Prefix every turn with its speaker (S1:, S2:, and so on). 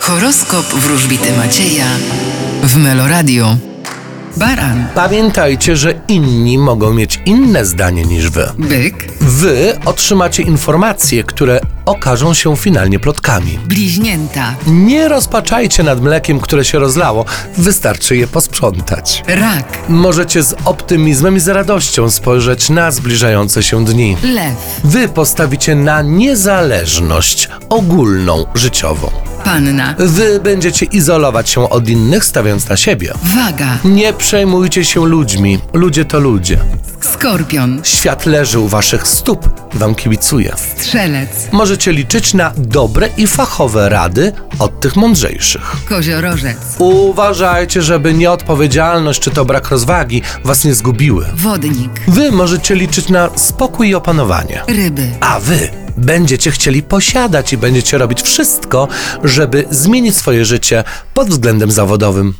S1: Horoskop wróżbity Macieja w Meloradio. Baran,
S2: Pamiętajcie, że inni mogą mieć inne zdanie niż wy.
S1: byk,
S2: Wy otrzymacie informacje, które okażą się finalnie plotkami.
S1: bliźnięta,
S2: Nie rozpaczajcie nad mlekiem, które się rozlało, wystarczy je posprzątać.
S1: rak,
S2: Możecie z optymizmem i z radością spojrzeć na zbliżające się dni.
S1: lew,
S2: Wy postawicie na niezależność ogólną, życiową.
S1: panna,
S2: Wy będziecie izolować się od innych, stawiając na siebie.
S1: waga,
S2: Nie przejmujcie się ludźmi. Ludzie to ludzie.
S1: skorpion,
S2: Świat leży u waszych stóp i wam kibicuje.
S1: strzelec,
S2: Możecie liczyć na dobre i fachowe rady od tych mądrzejszych.
S1: koziorożec,
S2: Uważajcie, żeby nieodpowiedzialność czy to brak rozwagi was nie zgubiły.
S1: wodnik,
S2: Wy możecie liczyć na spokój i opanowanie.
S1: ryby,
S2: A wy będziecie chcieli posiadać i będziecie robić wszystko, żeby zmienić swoje życie pod względem zawodowym.